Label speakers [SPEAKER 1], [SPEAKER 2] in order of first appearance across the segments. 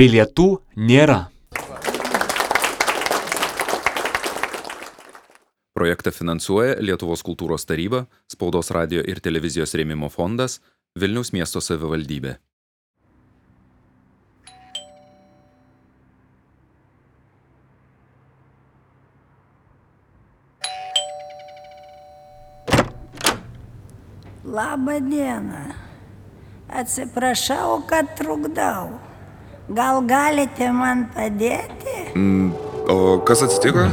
[SPEAKER 1] Bilietų nėra.
[SPEAKER 2] Projektą finansuoja Lietuvos kultūros taryba, Spaudos radio ir televizijos rėmimo fondas, Vilniaus miesto savivaldybė.
[SPEAKER 3] Labą dieną. Atsiprašau, kad trukdau. Gal galite man padėti?
[SPEAKER 4] O kas atsitiko?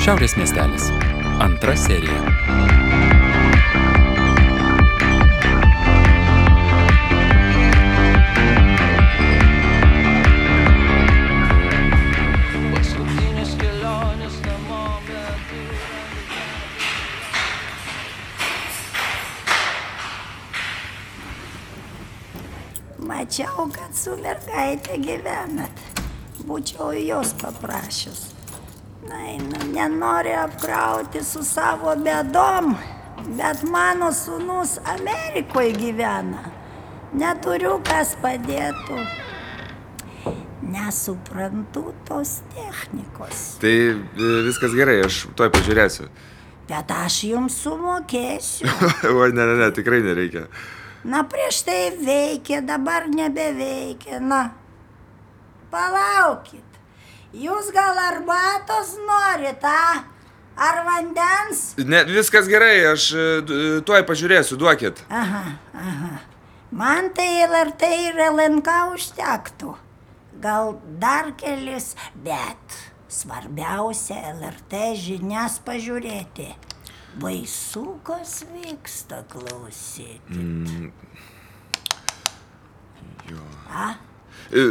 [SPEAKER 2] Šiaurės miestelis. Antra serija.
[SPEAKER 5] paskutinės kelionės namo metu.
[SPEAKER 3] Mačiau, kad su mergaitė gyvenat. Būčiau jos paprašęs. Na, nu, nenori apkrauti su savo bėdom, bet mano sunus Amerikoje gyvena. Neturiu kas padėtų. Nesuprantu tos technikos.
[SPEAKER 4] Tai e, viskas gerai, aš toj pažiūrėsiu.
[SPEAKER 3] Bet aš jums sumokėsiu.
[SPEAKER 4] O ne, ne, ne, tikrai nereikia.
[SPEAKER 3] Na, prieš tai veikė, dabar nebeveikia. Na, palaukit. Jūs gal arbatos norit, a? Ar vandens?
[SPEAKER 4] Ne, viskas gerai, aš e, d- e, tuoj pažiūrėsiu, duokit.
[SPEAKER 3] Aha, aha. Man tai LRT ir LNK užtektų. Gal dar kelis, bet svarbiausia LRT žinias pažiūrėti. Baisu, kas vyksta klausyti.
[SPEAKER 4] E, e,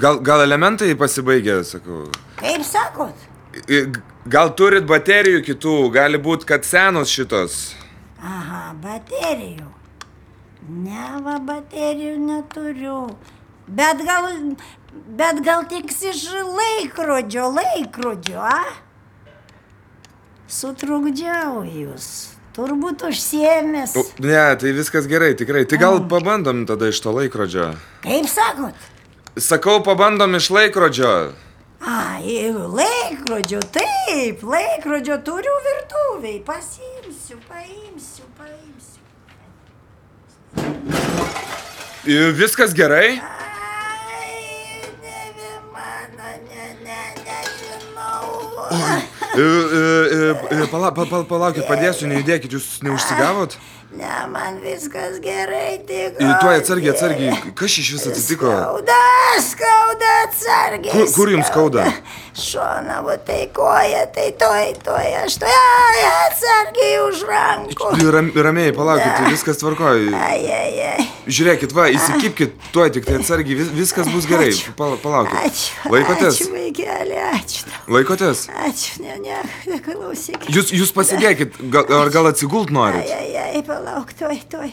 [SPEAKER 4] Gal, gal elementai pasibaigė, sakau.
[SPEAKER 3] Kaip sakot?
[SPEAKER 4] E, g- Gal turit baterijų kitų, gali būti, kad senos šitos.
[SPEAKER 3] Aha, baterijų. Ne, va, baterijų neturiu. Bet gal, bet gal tiks iš laikrodžio, laikrodžio, a? Sutrukdžiau jūs. Turbūt užsiemęs.
[SPEAKER 4] O, Ne, tai viskas gerai, tikrai. Tai gal pabandom tada iš to laikrodžio.
[SPEAKER 3] Kaip sakot?
[SPEAKER 4] Sakau, pabandom iš laikrodžio.
[SPEAKER 3] A, i- laikrodžio, taip, laikrodžio turiu virtuviai. Pasiimsiu, paimsiu, paimsiu.
[SPEAKER 4] E, Viskas gerai?
[SPEAKER 3] Ai, nebe mano, ne, ne, nežinau.
[SPEAKER 4] E, e, e, Pala, pa, pa, palaukit, padėsiu, nejudėkit, jūs neužsigavot?
[SPEAKER 3] Ne, man viskas gerai, tik.
[SPEAKER 4] E, Tuoj atsargiai, atsargiai. Kas čia iš vis atsitiko?
[SPEAKER 3] Skauda, skauda, atsargiai.
[SPEAKER 4] Kur- kur jums skauda?
[SPEAKER 3] Šona, va tai koja, tai toj, toj, aš toj, ai, atsargiai už rankų.
[SPEAKER 4] E, Ram, ramiai, palaukit, tai viskas tvarkoju.
[SPEAKER 3] Ai, ai, ai.
[SPEAKER 4] Žiūrėkit, va, įsikipkit, tuoj tik tai atsargiai, vis, viskas bus gerai. Pala, palaukit.
[SPEAKER 3] Ačiū.
[SPEAKER 4] Laikotės?
[SPEAKER 3] Ačiū, vaikeli, ačiū. tau.
[SPEAKER 4] Laikotės?
[SPEAKER 3] Ačiū, ne, ne, klausykit.
[SPEAKER 4] Jūs, jūs pasidėkit, gal, ar gal atsigult norit?
[SPEAKER 3] Ai, ai, ai, palauk, toj, toj,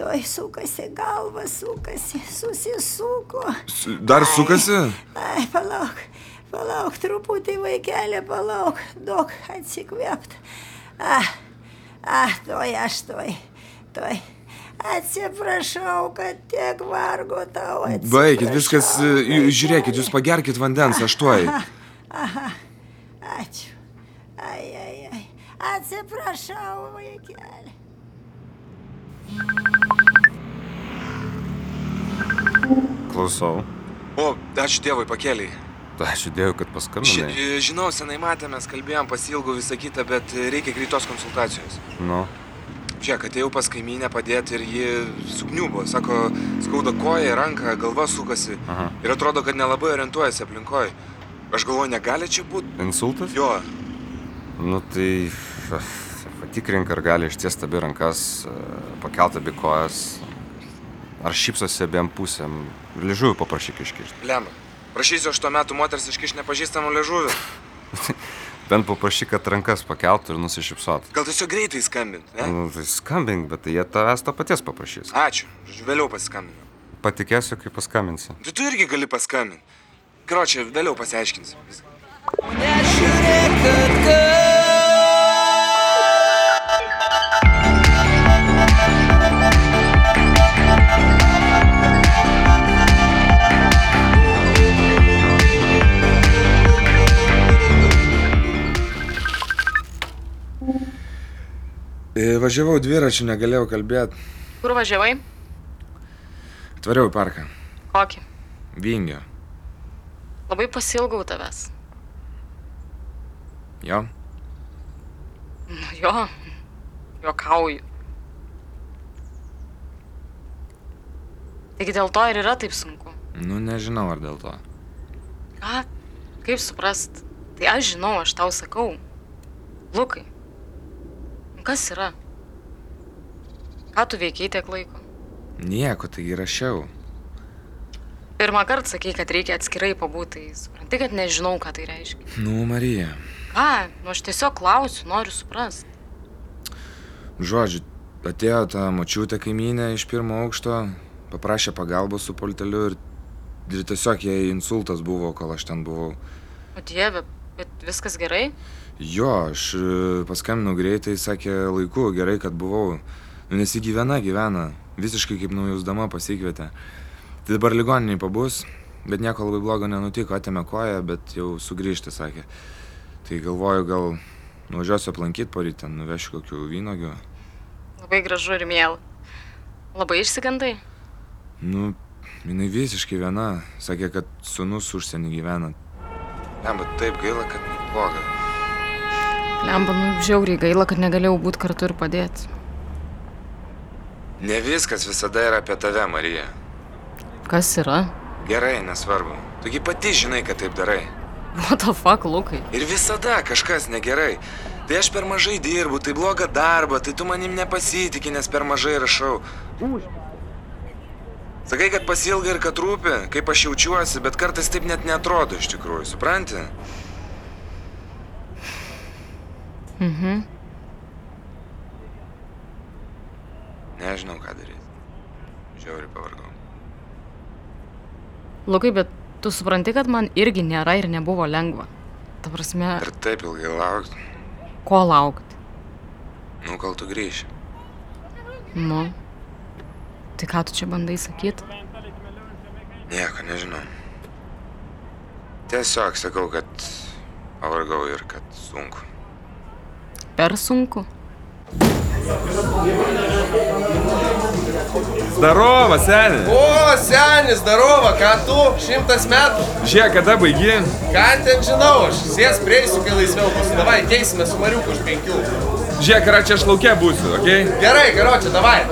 [SPEAKER 3] toj sukasi galva, sukasi, susisuko.
[SPEAKER 4] S- Dar sukasi?
[SPEAKER 3] Ai, palauk, palauk, truputį vaikelė, palauk, daug atsikvėpt. Ah, ah, toj, aš toj, toj. Atsiprašau, kad tiek vargo tau. atsiprašau.
[SPEAKER 4] Baikit, viskas, e, ju- žiūrėkit, jūs pagerkit vandens, aš tuoj.
[SPEAKER 3] Ačiū. Ai, ai, ai. Atsiprašau, vaikelė.
[SPEAKER 6] Klausau.
[SPEAKER 4] O, ačiū Dievui, pakeliai.
[SPEAKER 6] Tai Aš įdėjau, kad
[SPEAKER 4] Ži,
[SPEAKER 6] paskambinai.
[SPEAKER 4] e, žinau, senai matėmės, kalbėjom pasilgų visą kitą, bet e, reikia greitos konsultacijos.
[SPEAKER 6] Nu,
[SPEAKER 4] Čia, kad atėjau pas kaimynę padėti ir ji sugniubo. Sako, skauda koja, ranka, galva sukasi.
[SPEAKER 6] Aha.
[SPEAKER 4] Ir atrodo, kad nelabai orientuojasi aplinkoje. Aš galvoju, negali čia būti.
[SPEAKER 6] insultas?
[SPEAKER 4] Jo,
[SPEAKER 6] Nu tai ach, patikrink, ar gali ištiesti abi rankas, pakelti abi kojas, ar šypsosi abiem pusėm. Ir Ližuvį paprašyk iškišti.
[SPEAKER 4] lemia. Prašysiu aš tuo metu moters iškiš nepažįstamų ležuvių.
[SPEAKER 6] Bent paprašyk, kad rankas pakeltų ir nusišypsotų.
[SPEAKER 4] Gal tiesiog greitai skambint, ne?
[SPEAKER 6] Nu, tai skambink, bet tai jie tavęs to paties paprašys.
[SPEAKER 4] Ačiū, žodžiu, vėliau paskambinau.
[SPEAKER 6] Patikėsiu, kai paskambinsi.
[SPEAKER 4] Tai tu irgi gali paskambinti. Karočią, vėliau pasiaiškinsim. Viską.
[SPEAKER 5] Nežiūrėk, kad kas
[SPEAKER 4] E, Važiavau dviračiu, negalėjau kalbėti.
[SPEAKER 1] Kur važiavai?
[SPEAKER 4] Tvariau į parką.
[SPEAKER 1] Kokį?
[SPEAKER 4] Vingio.
[SPEAKER 1] Labai pasilgau tavęs.
[SPEAKER 4] Jo?
[SPEAKER 1] Nu jo, juokauju. Taigi dėl to ir yra taip sunku.
[SPEAKER 4] Nu, nežinau ar dėl to.
[SPEAKER 1] Ką? Kaip suprast? Tai aš žinau, aš tau sakau. Lukai, nu kas yra? Ką tu veikiai tiek laiko?
[SPEAKER 4] Nieko, tai įrašiau.
[SPEAKER 1] Pirmą kartą sakai, kad reikia atskirai pabūti, tai supranti, kad nežinau, ką tai reiškia.
[SPEAKER 4] Nu, Marija.
[SPEAKER 1] Ką? Nu aš tiesiog klausiu, noriu suprasti.
[SPEAKER 4] Žodžiu, atėjo ta mačiutė kaimynė iš pirmo aukšto, paprašė pagalbos su polteliu ir, ir tiesiog jai insultas buvo, kol aš ten buvau.
[SPEAKER 1] O dieve, bet viskas gerai?
[SPEAKER 4] Jo, aš e, paskambinau greitai, sakė laiku, gerai, kad buvau. Nu, nes ji gyvena, gyvena, visiškai kaip nujausdama pasikvietė. Tai dabar ligoniniai pabus, bet nieko labai blogo nenutiko, atėmė koją, bet jau sugrįžti, sakė. Tai galvoju, gal nuvažiuosiu aplankyti porytę, nuvešiu kokių vynogių.
[SPEAKER 1] Labai gražu ir mėly. Labai išsigandai.
[SPEAKER 4] Nu, jinai visiškai viena, sakė, kad sunus užsienį gyvena. Ne, bet taip gaila, kad bloga.
[SPEAKER 1] Lemba, nu žiauriai gaila, kad negalėjau būti kartu ir padėti.
[SPEAKER 4] Ne viskas visada yra apie tave, Marija.
[SPEAKER 1] Kas yra?
[SPEAKER 4] Gerai, nesvarbu. Tugi pati žinai, kad taip darai.
[SPEAKER 1] What the fuck, Lukai?
[SPEAKER 4] Ir visada kažkas negerai. Tai aš per mažai dirbu, tai bloga darba, tai tu manim nepasitikė, nes per mažai rašau. Sakai, kad pasilgai ir kad rūpi, kaip aš jaučiuosi, bet kartais taip net netrodo iš tikrųjų, supranti?
[SPEAKER 1] Mhm.
[SPEAKER 4] Nežinau, ką daryti. Žiauriai pavargau.
[SPEAKER 1] Lukai, bet tu supranti, kad man irgi nėra ir nebuvo lengva. Ta prasme,
[SPEAKER 4] Ir taip ilgai laukti,
[SPEAKER 1] ko laukti?
[SPEAKER 4] nu kol tu grįši.
[SPEAKER 1] Nu. Tai ką tu čia bandai sakyti?
[SPEAKER 4] Nieko nežinau. Tiesiog sakau, kad pavargau ir kad sunku.
[SPEAKER 1] Per sunku.
[SPEAKER 7] Darova, seniai.
[SPEAKER 8] O, senis, darova, ką tu, šimtas metų.
[SPEAKER 7] Žiūrėk, kada baigi?
[SPEAKER 8] Ką ten žinau, aš sės prieisiu, kai laisviau bus. Davai, keisime su Mariuku už penkių.
[SPEAKER 7] Žiūrėk, ar čia aš laukia būsiu, okei? Okay?
[SPEAKER 8] Gerai, garočią, davai.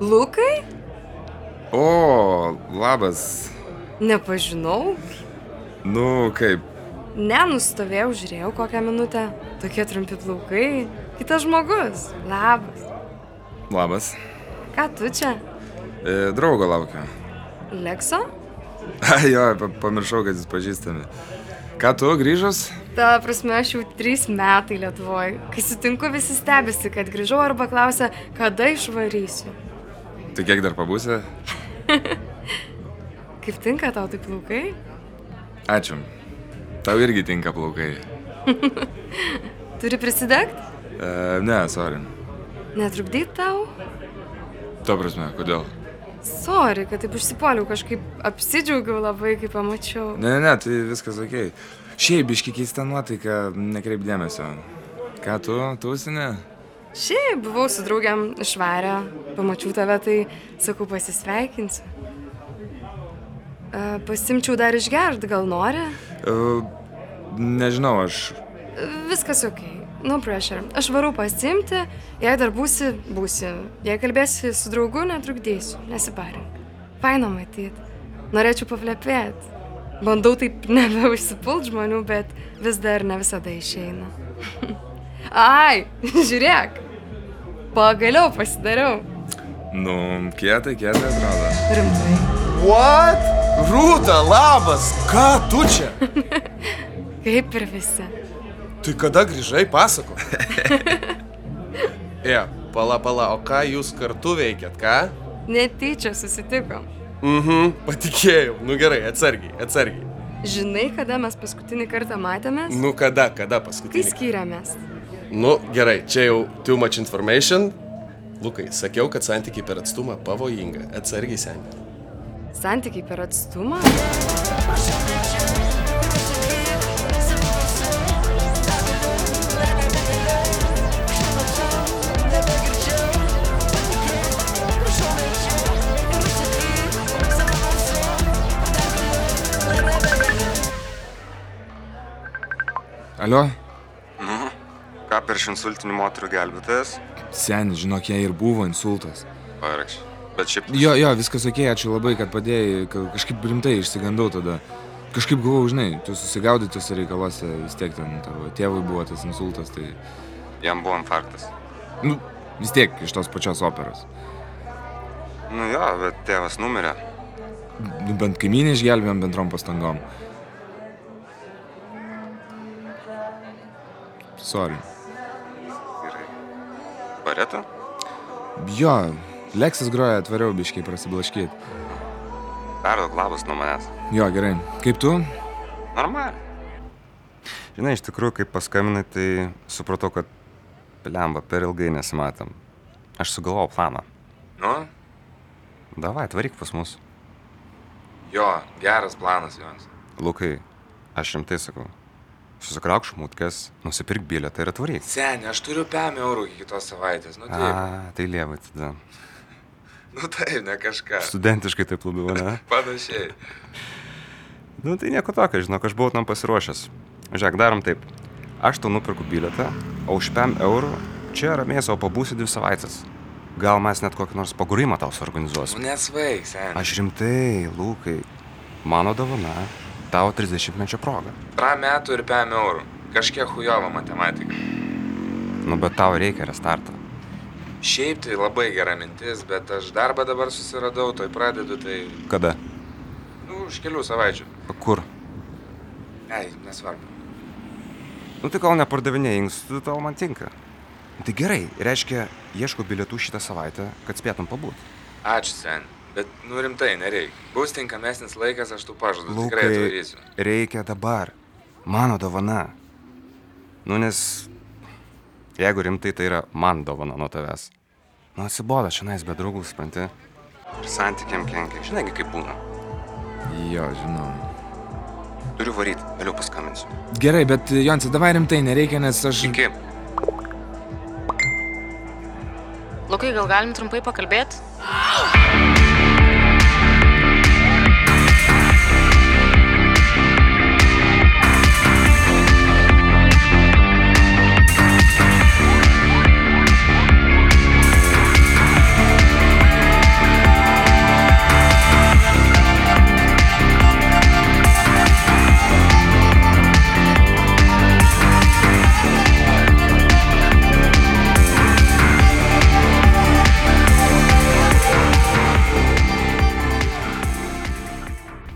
[SPEAKER 9] Lukai?
[SPEAKER 4] O, labas.
[SPEAKER 9] Nepažinau.
[SPEAKER 4] Nu, kaip.
[SPEAKER 9] Nenustovėjau, žiūrėjau kokią minutę. Tokie trumpi plaukai. Kitas žmogus. Labas.
[SPEAKER 4] Labas.
[SPEAKER 9] Ką tu čia?
[SPEAKER 4] E, draugo laukiu.
[SPEAKER 9] Lekso?
[SPEAKER 4] Ai, jo, pa- pamiršau, kad jūs pažįstami. Ką tu, grįžus?
[SPEAKER 9] Ta prasme, aš jau trys metai Lietuvoje. Kai sutinku, visi stebisi, kad grįžau arba klausia, kada išvarysiu.
[SPEAKER 4] Tai kiek dar pabūsi?
[SPEAKER 9] Kaip tinka tau tai plaukai?
[SPEAKER 4] Ačiū. Tau irgi tinka plaukai.
[SPEAKER 9] Turi prisidegti?
[SPEAKER 4] E, ne, sorry.
[SPEAKER 9] Netrukdyt tau?
[SPEAKER 4] Tuo prasme, kodėl?
[SPEAKER 9] Sorry, kad taip užsipoliau, kažkaip apsidžiaugiau labai, kai pamačiau.
[SPEAKER 4] Ne, ne, ne, tai viskas ok. Šiaip biški keista nuotaika, nekreip dėmesio. Ką tu, tūsinė?
[SPEAKER 9] Šiaip buvau su draugiam išvarę, pamačiau tave, tai sakau pasisveikinsiu. E, Pasimčiau dar išgert, gal nori?
[SPEAKER 4] E, nežinau, aš
[SPEAKER 9] E, Viskas ok, no pressure. Aš varau pasimti, jei dar būsi, būsi. Jei kalbėsi su draugu, netrukdysiu, nesiparink. Faino matyt, norėčiau paplepėti. Bandau taip nebeužsipult žmonių, bet vis dar ne visada išeina. Ai, žiūrėk, pagaliau pasidariau.
[SPEAKER 4] Nu, kietai, kietai atrodo.
[SPEAKER 9] Rimtai.
[SPEAKER 8] What? Rūta, labas, ką tu čia?
[SPEAKER 9] Kaip ir visi.
[SPEAKER 8] Tai kada grįžai, pasako? e, pala, pala, o ką jūs kartu veikėt, ką?
[SPEAKER 9] Netyčia susitikom.
[SPEAKER 8] Mhm, patikėjau. Nu gerai, atsargiai, atsargiai.
[SPEAKER 9] Žinai, kada mes paskutinį kartą matėmės?
[SPEAKER 8] Nu kada, kada
[SPEAKER 9] Kai
[SPEAKER 8] paskutinį.
[SPEAKER 9] skyrėmės?
[SPEAKER 8] Nu gerai, čia jau too much information. Lukai, sakiau, kad santykiai per atstumą pavojinga. Atsargiai, seniai.
[SPEAKER 9] Santykiai per atstumą?
[SPEAKER 4] Alio?
[SPEAKER 6] Nu, ką per šinsultinių moterų gelbėtojas?
[SPEAKER 4] Seni, žinok, jai ir buvo insultas.
[SPEAKER 6] Parakš. Bet šiaip...
[SPEAKER 4] Jo, jo, viskas ok, ačiū labai, kad padėjai. Ka- Kažkaip rimtai išsigandau tada. Kažkaip galvojau, žinai, tu susigaudai tuose reikaluose, vis tiek ten tavo tėvui buvo tas insultas, tai...
[SPEAKER 6] Jam buvo infarktas.
[SPEAKER 4] Nu, vis tiek iš tos pačios operos.
[SPEAKER 6] Nu jo, bet tėvas numirė.
[SPEAKER 4] Nu, Bent kaimynį išgelbėjom bendrom pastangom. Sorry.
[SPEAKER 6] Gerai. Baretą?
[SPEAKER 4] Jo, Leksas groja atvariau biškiai prasiblaškyti.
[SPEAKER 6] Perduok labas nuo manęs.
[SPEAKER 4] Jo, gerai. Kaip tu?
[SPEAKER 6] Normaliai. Žinai, iš tikrųjų, kai paskambinai, tai supratau, kad lemba per ilgai nesimatom. Aš sugalvojau planą.
[SPEAKER 4] Nu,
[SPEAKER 6] Davai, atvaryk pas mus.
[SPEAKER 4] jo, geras planas Jonas.
[SPEAKER 6] Lukai, aš rimtai sakau. Susikrauk šmutkės, nusipirk bilietą ir atvaryk.
[SPEAKER 4] Seni, aš turiu 5 eurų iki kitos savaitės, nu
[SPEAKER 6] A, tai lievai tada.
[SPEAKER 4] Nu taip, ne kažką.
[SPEAKER 6] Studentiškai taip labiau, ne?
[SPEAKER 4] Panašiai.
[SPEAKER 6] Nu tai nieko tokio, žinok, aš buvau tam pasiruošęs. Žiūrėk, darom taip. Aš tau nupirku bilietą, o už 5 eurų čia ramiai savo pabūsi dvi savaitės. Gal mes net kokį nors pagūrimą tau suorganizuosim.
[SPEAKER 4] Nu, nesvaik, seni.
[SPEAKER 6] Aš rimtai, Lukai. Mano davana tavo 30-mečio proga.
[SPEAKER 4] Pra metų ir 5 eurų. Kažkiek hujova matematika.
[SPEAKER 6] Nu bet tau reikia restartą.
[SPEAKER 4] Šiaip tai labai gera mintis, bet aš darbą dabar susiradau, toj pradedu, tai,
[SPEAKER 6] Kada?
[SPEAKER 4] nu, už kelių savaičių.
[SPEAKER 6] Kur?
[SPEAKER 4] Ei, nesvarbu.
[SPEAKER 6] Nu tai kol nepardavinėjai inkstų, tau man tinka. Tai gerai, reiškia, ieško bilietų šitą savaitę, kad spėtum pabūti.
[SPEAKER 4] Ačiū, sen. Bet, nu, rimtai, nereikia. Bus tinkamesnis laikas, aš tu pažadu,
[SPEAKER 6] Nu, tai
[SPEAKER 4] tikrai
[SPEAKER 6] Lukai,
[SPEAKER 4] atvarysiu.
[SPEAKER 6] reikia dabar. Mano dovana. Nu nes, jeigu rimtai, tai yra man dovana nuo tavęs. Nu atsibodo šiandien be draugų, supranti. Ir santykiam kenkia. Žinai, gi kaip būna.
[SPEAKER 4] Jo, žinau.
[SPEAKER 6] Turiu varyti, vėliau paskambinsiu.
[SPEAKER 4] Gerai, bet Jonsi, davai rimtai, nereikia, nes aš...
[SPEAKER 6] Iki.
[SPEAKER 1] Lukai, gal galim trumpai pakalbėti?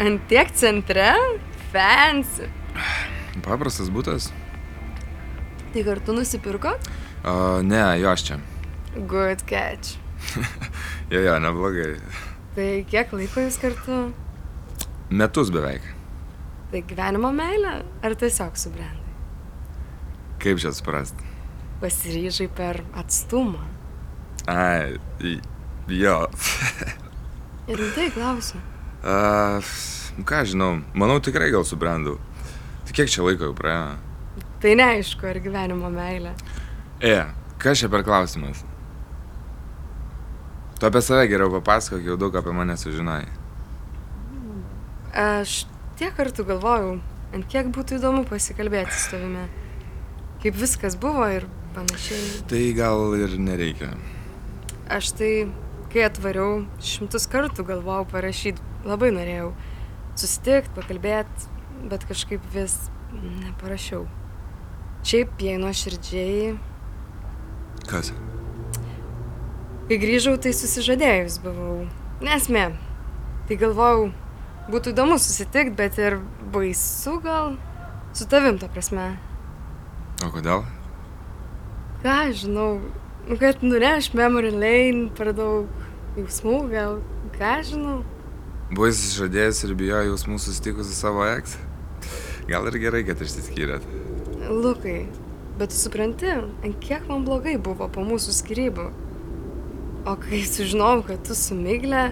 [SPEAKER 9] Ant tiek centre? Fancy.
[SPEAKER 4] Paprastas būtas?
[SPEAKER 9] Tai kartu nusipirkot?
[SPEAKER 4] O, ne, jo, aš čia.
[SPEAKER 9] Good catch.
[SPEAKER 4] Jo, jo, neblogai.
[SPEAKER 9] Tai kiek laiko jūs kartu?
[SPEAKER 4] Metus beveik.
[SPEAKER 9] Tai gyvenimo meilė ar tiesiog subrendai?
[SPEAKER 4] Kaip čia suprast?
[SPEAKER 9] Pasiryžai per atstumą.
[SPEAKER 4] Ai, i- jo.
[SPEAKER 9] Ir rimtai klausiu.
[SPEAKER 4] A, nu ką aš žinau, manau tikrai gal subrendau. Tai kiek čia laiko jau praėjo?
[SPEAKER 9] Tai neaišku, ar gyvenimo meilė.
[SPEAKER 4] E, kas čia per klausimas? Tu apie save geriau papasakok, jau daug apie mane sužinai.
[SPEAKER 9] Aš tiek kartų galvojau, ant kiek būtų įdomu pasikalbėti su tavimi. Kaip viskas buvo ir panašiai.
[SPEAKER 4] Tai gal ir nereikia.
[SPEAKER 9] Aš tai, kai atvariau, šimtus kartų galvojau parašyti, labai norėjau susitikti, pakalbėti, bet kažkaip vis neparašiau. Šiaip, jei nuoširdžiai,
[SPEAKER 4] Kas?
[SPEAKER 9] kai grįžau, tai susižadėjus buvau. Nesmė, tai galvojau, būtų įdomu susitikti, bet ir baisu gal su tavim, ta prasme.
[SPEAKER 4] O kodėl?
[SPEAKER 9] Ką aš žinau, nu, kad nureš Memory Lane per daug jausmų, gal ką aš žinau.
[SPEAKER 4] Buvai susižadėjęs ir bijojai jausmų susitikus su savo eks? Gal ir gerai, kad išsiskyrėt.
[SPEAKER 9] Lukai, bet tu supranti, ant kiek man blogai buvo po mūsų skirybų. O kai sužinojau, kad tu sumiglė,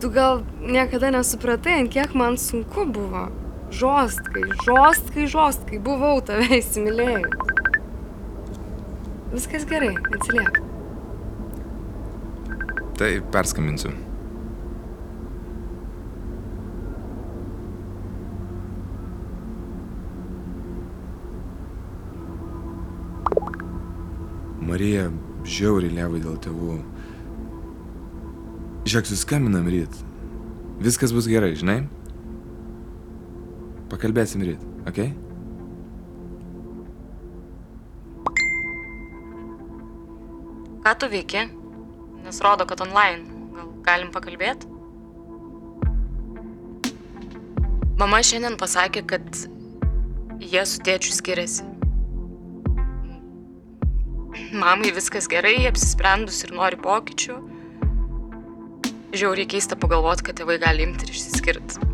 [SPEAKER 9] tu gal niekada nesupratai, ant kiek man sunku buvo. Žostkai, žostkai, žostkai buvau tave įsimylėjęs. Viskas gerai, atsiliek.
[SPEAKER 4] Tai perskambinsiu. Marija žiauriai levai dėl tėvų. Žiūrėk, suskambinam ryt. Viskas bus gerai, žinai? Pakalbėsim ryt, okei? Okay?
[SPEAKER 1] Ką tu veiki? Nes rodo, kad online. Gal galim pakalbėti? Mama šiandien pasakė, kad jie su tėčiu skiriasi. Mamai viskas gerai, ji apsisprendus ir nori pokyčių. Žiauriai keista pagalvoti, kad tėvai gali imti ir išsiskirti.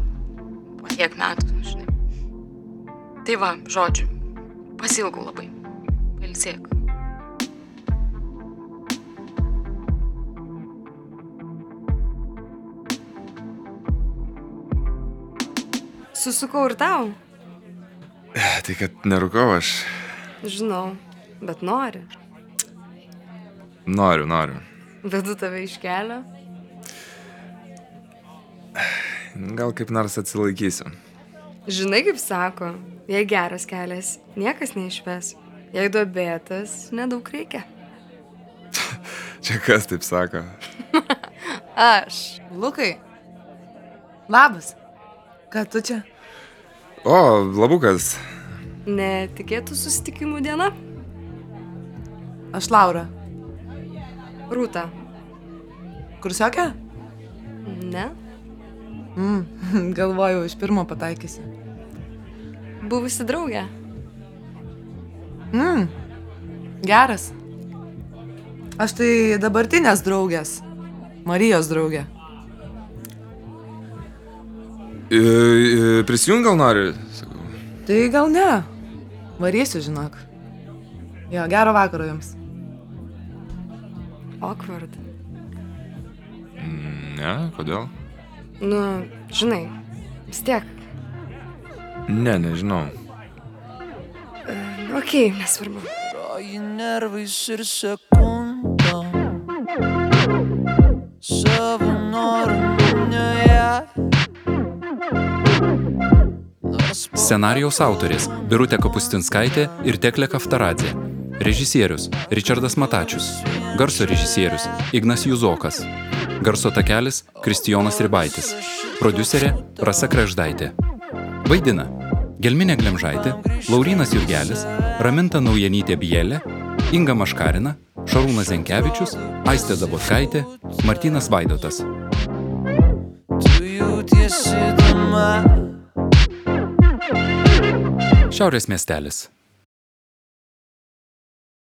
[SPEAKER 1] Po tiek metų, žinai. Tai va, žodžiu, pasilgau labai. Ilsėk.
[SPEAKER 9] Susukau ir tau.
[SPEAKER 4] Tai kad nerūkau aš.
[SPEAKER 9] Žinau, bet nori.
[SPEAKER 4] Noriu, noriu.
[SPEAKER 9] Vedu tave iš kelio.
[SPEAKER 4] Gal kaip nors atsilaikysiu.
[SPEAKER 9] Žinai, kaip sako, jei geras kelias, niekas neišves. Jei duobėtas, nedaug reikia.
[SPEAKER 4] Čia kas taip sako?
[SPEAKER 9] Aš.
[SPEAKER 5] Lukai. Labas. Ką tu čia?
[SPEAKER 4] O, labukas.
[SPEAKER 9] Netikėtų susitikimų diena.
[SPEAKER 5] Aš Laura.
[SPEAKER 9] Rūta.
[SPEAKER 5] Kursiokė?
[SPEAKER 9] Ne.
[SPEAKER 5] Mm, galvojau, iš pirmo pataikysi.
[SPEAKER 9] Buvusi draugė.
[SPEAKER 5] Mm, geras. Aš tai dabartinės draugės. Marijos draugė.
[SPEAKER 4] Prisijung E, gal nori? Sakau.
[SPEAKER 5] Tai gal ne. Varysiu, žinok. Jo, gero vakaro jums.
[SPEAKER 9] Awkward.
[SPEAKER 4] Ne, kodėl?
[SPEAKER 9] Nu, žinai, vis tiek.
[SPEAKER 4] Ne, nežinau.
[SPEAKER 9] Ok, nesvarbu.
[SPEAKER 10] Groji nervais ir sekundom Savo norų minioje
[SPEAKER 2] Scenarijaus autorės - Birutė Kapustinskaitė ir Teklė Kaftaradė. Režisierius - Richardas Matačius. Garso režisierius - Ignas Juzokas. Garso takelis - Kristijonas Ribaitis. Producerė - Rasa Kreždaitė. Vaidina - Gelminė Glemžaitė, Laurinas Jurgelis, Raminta Naujanytė Bielė, Inga Maškarina, Šarūnas Zenkevičius, Aistė Dabotkaitė, Martinas Vaidotas.
[SPEAKER 10] Tu jautiesi dama
[SPEAKER 2] Šiaurės miestelis.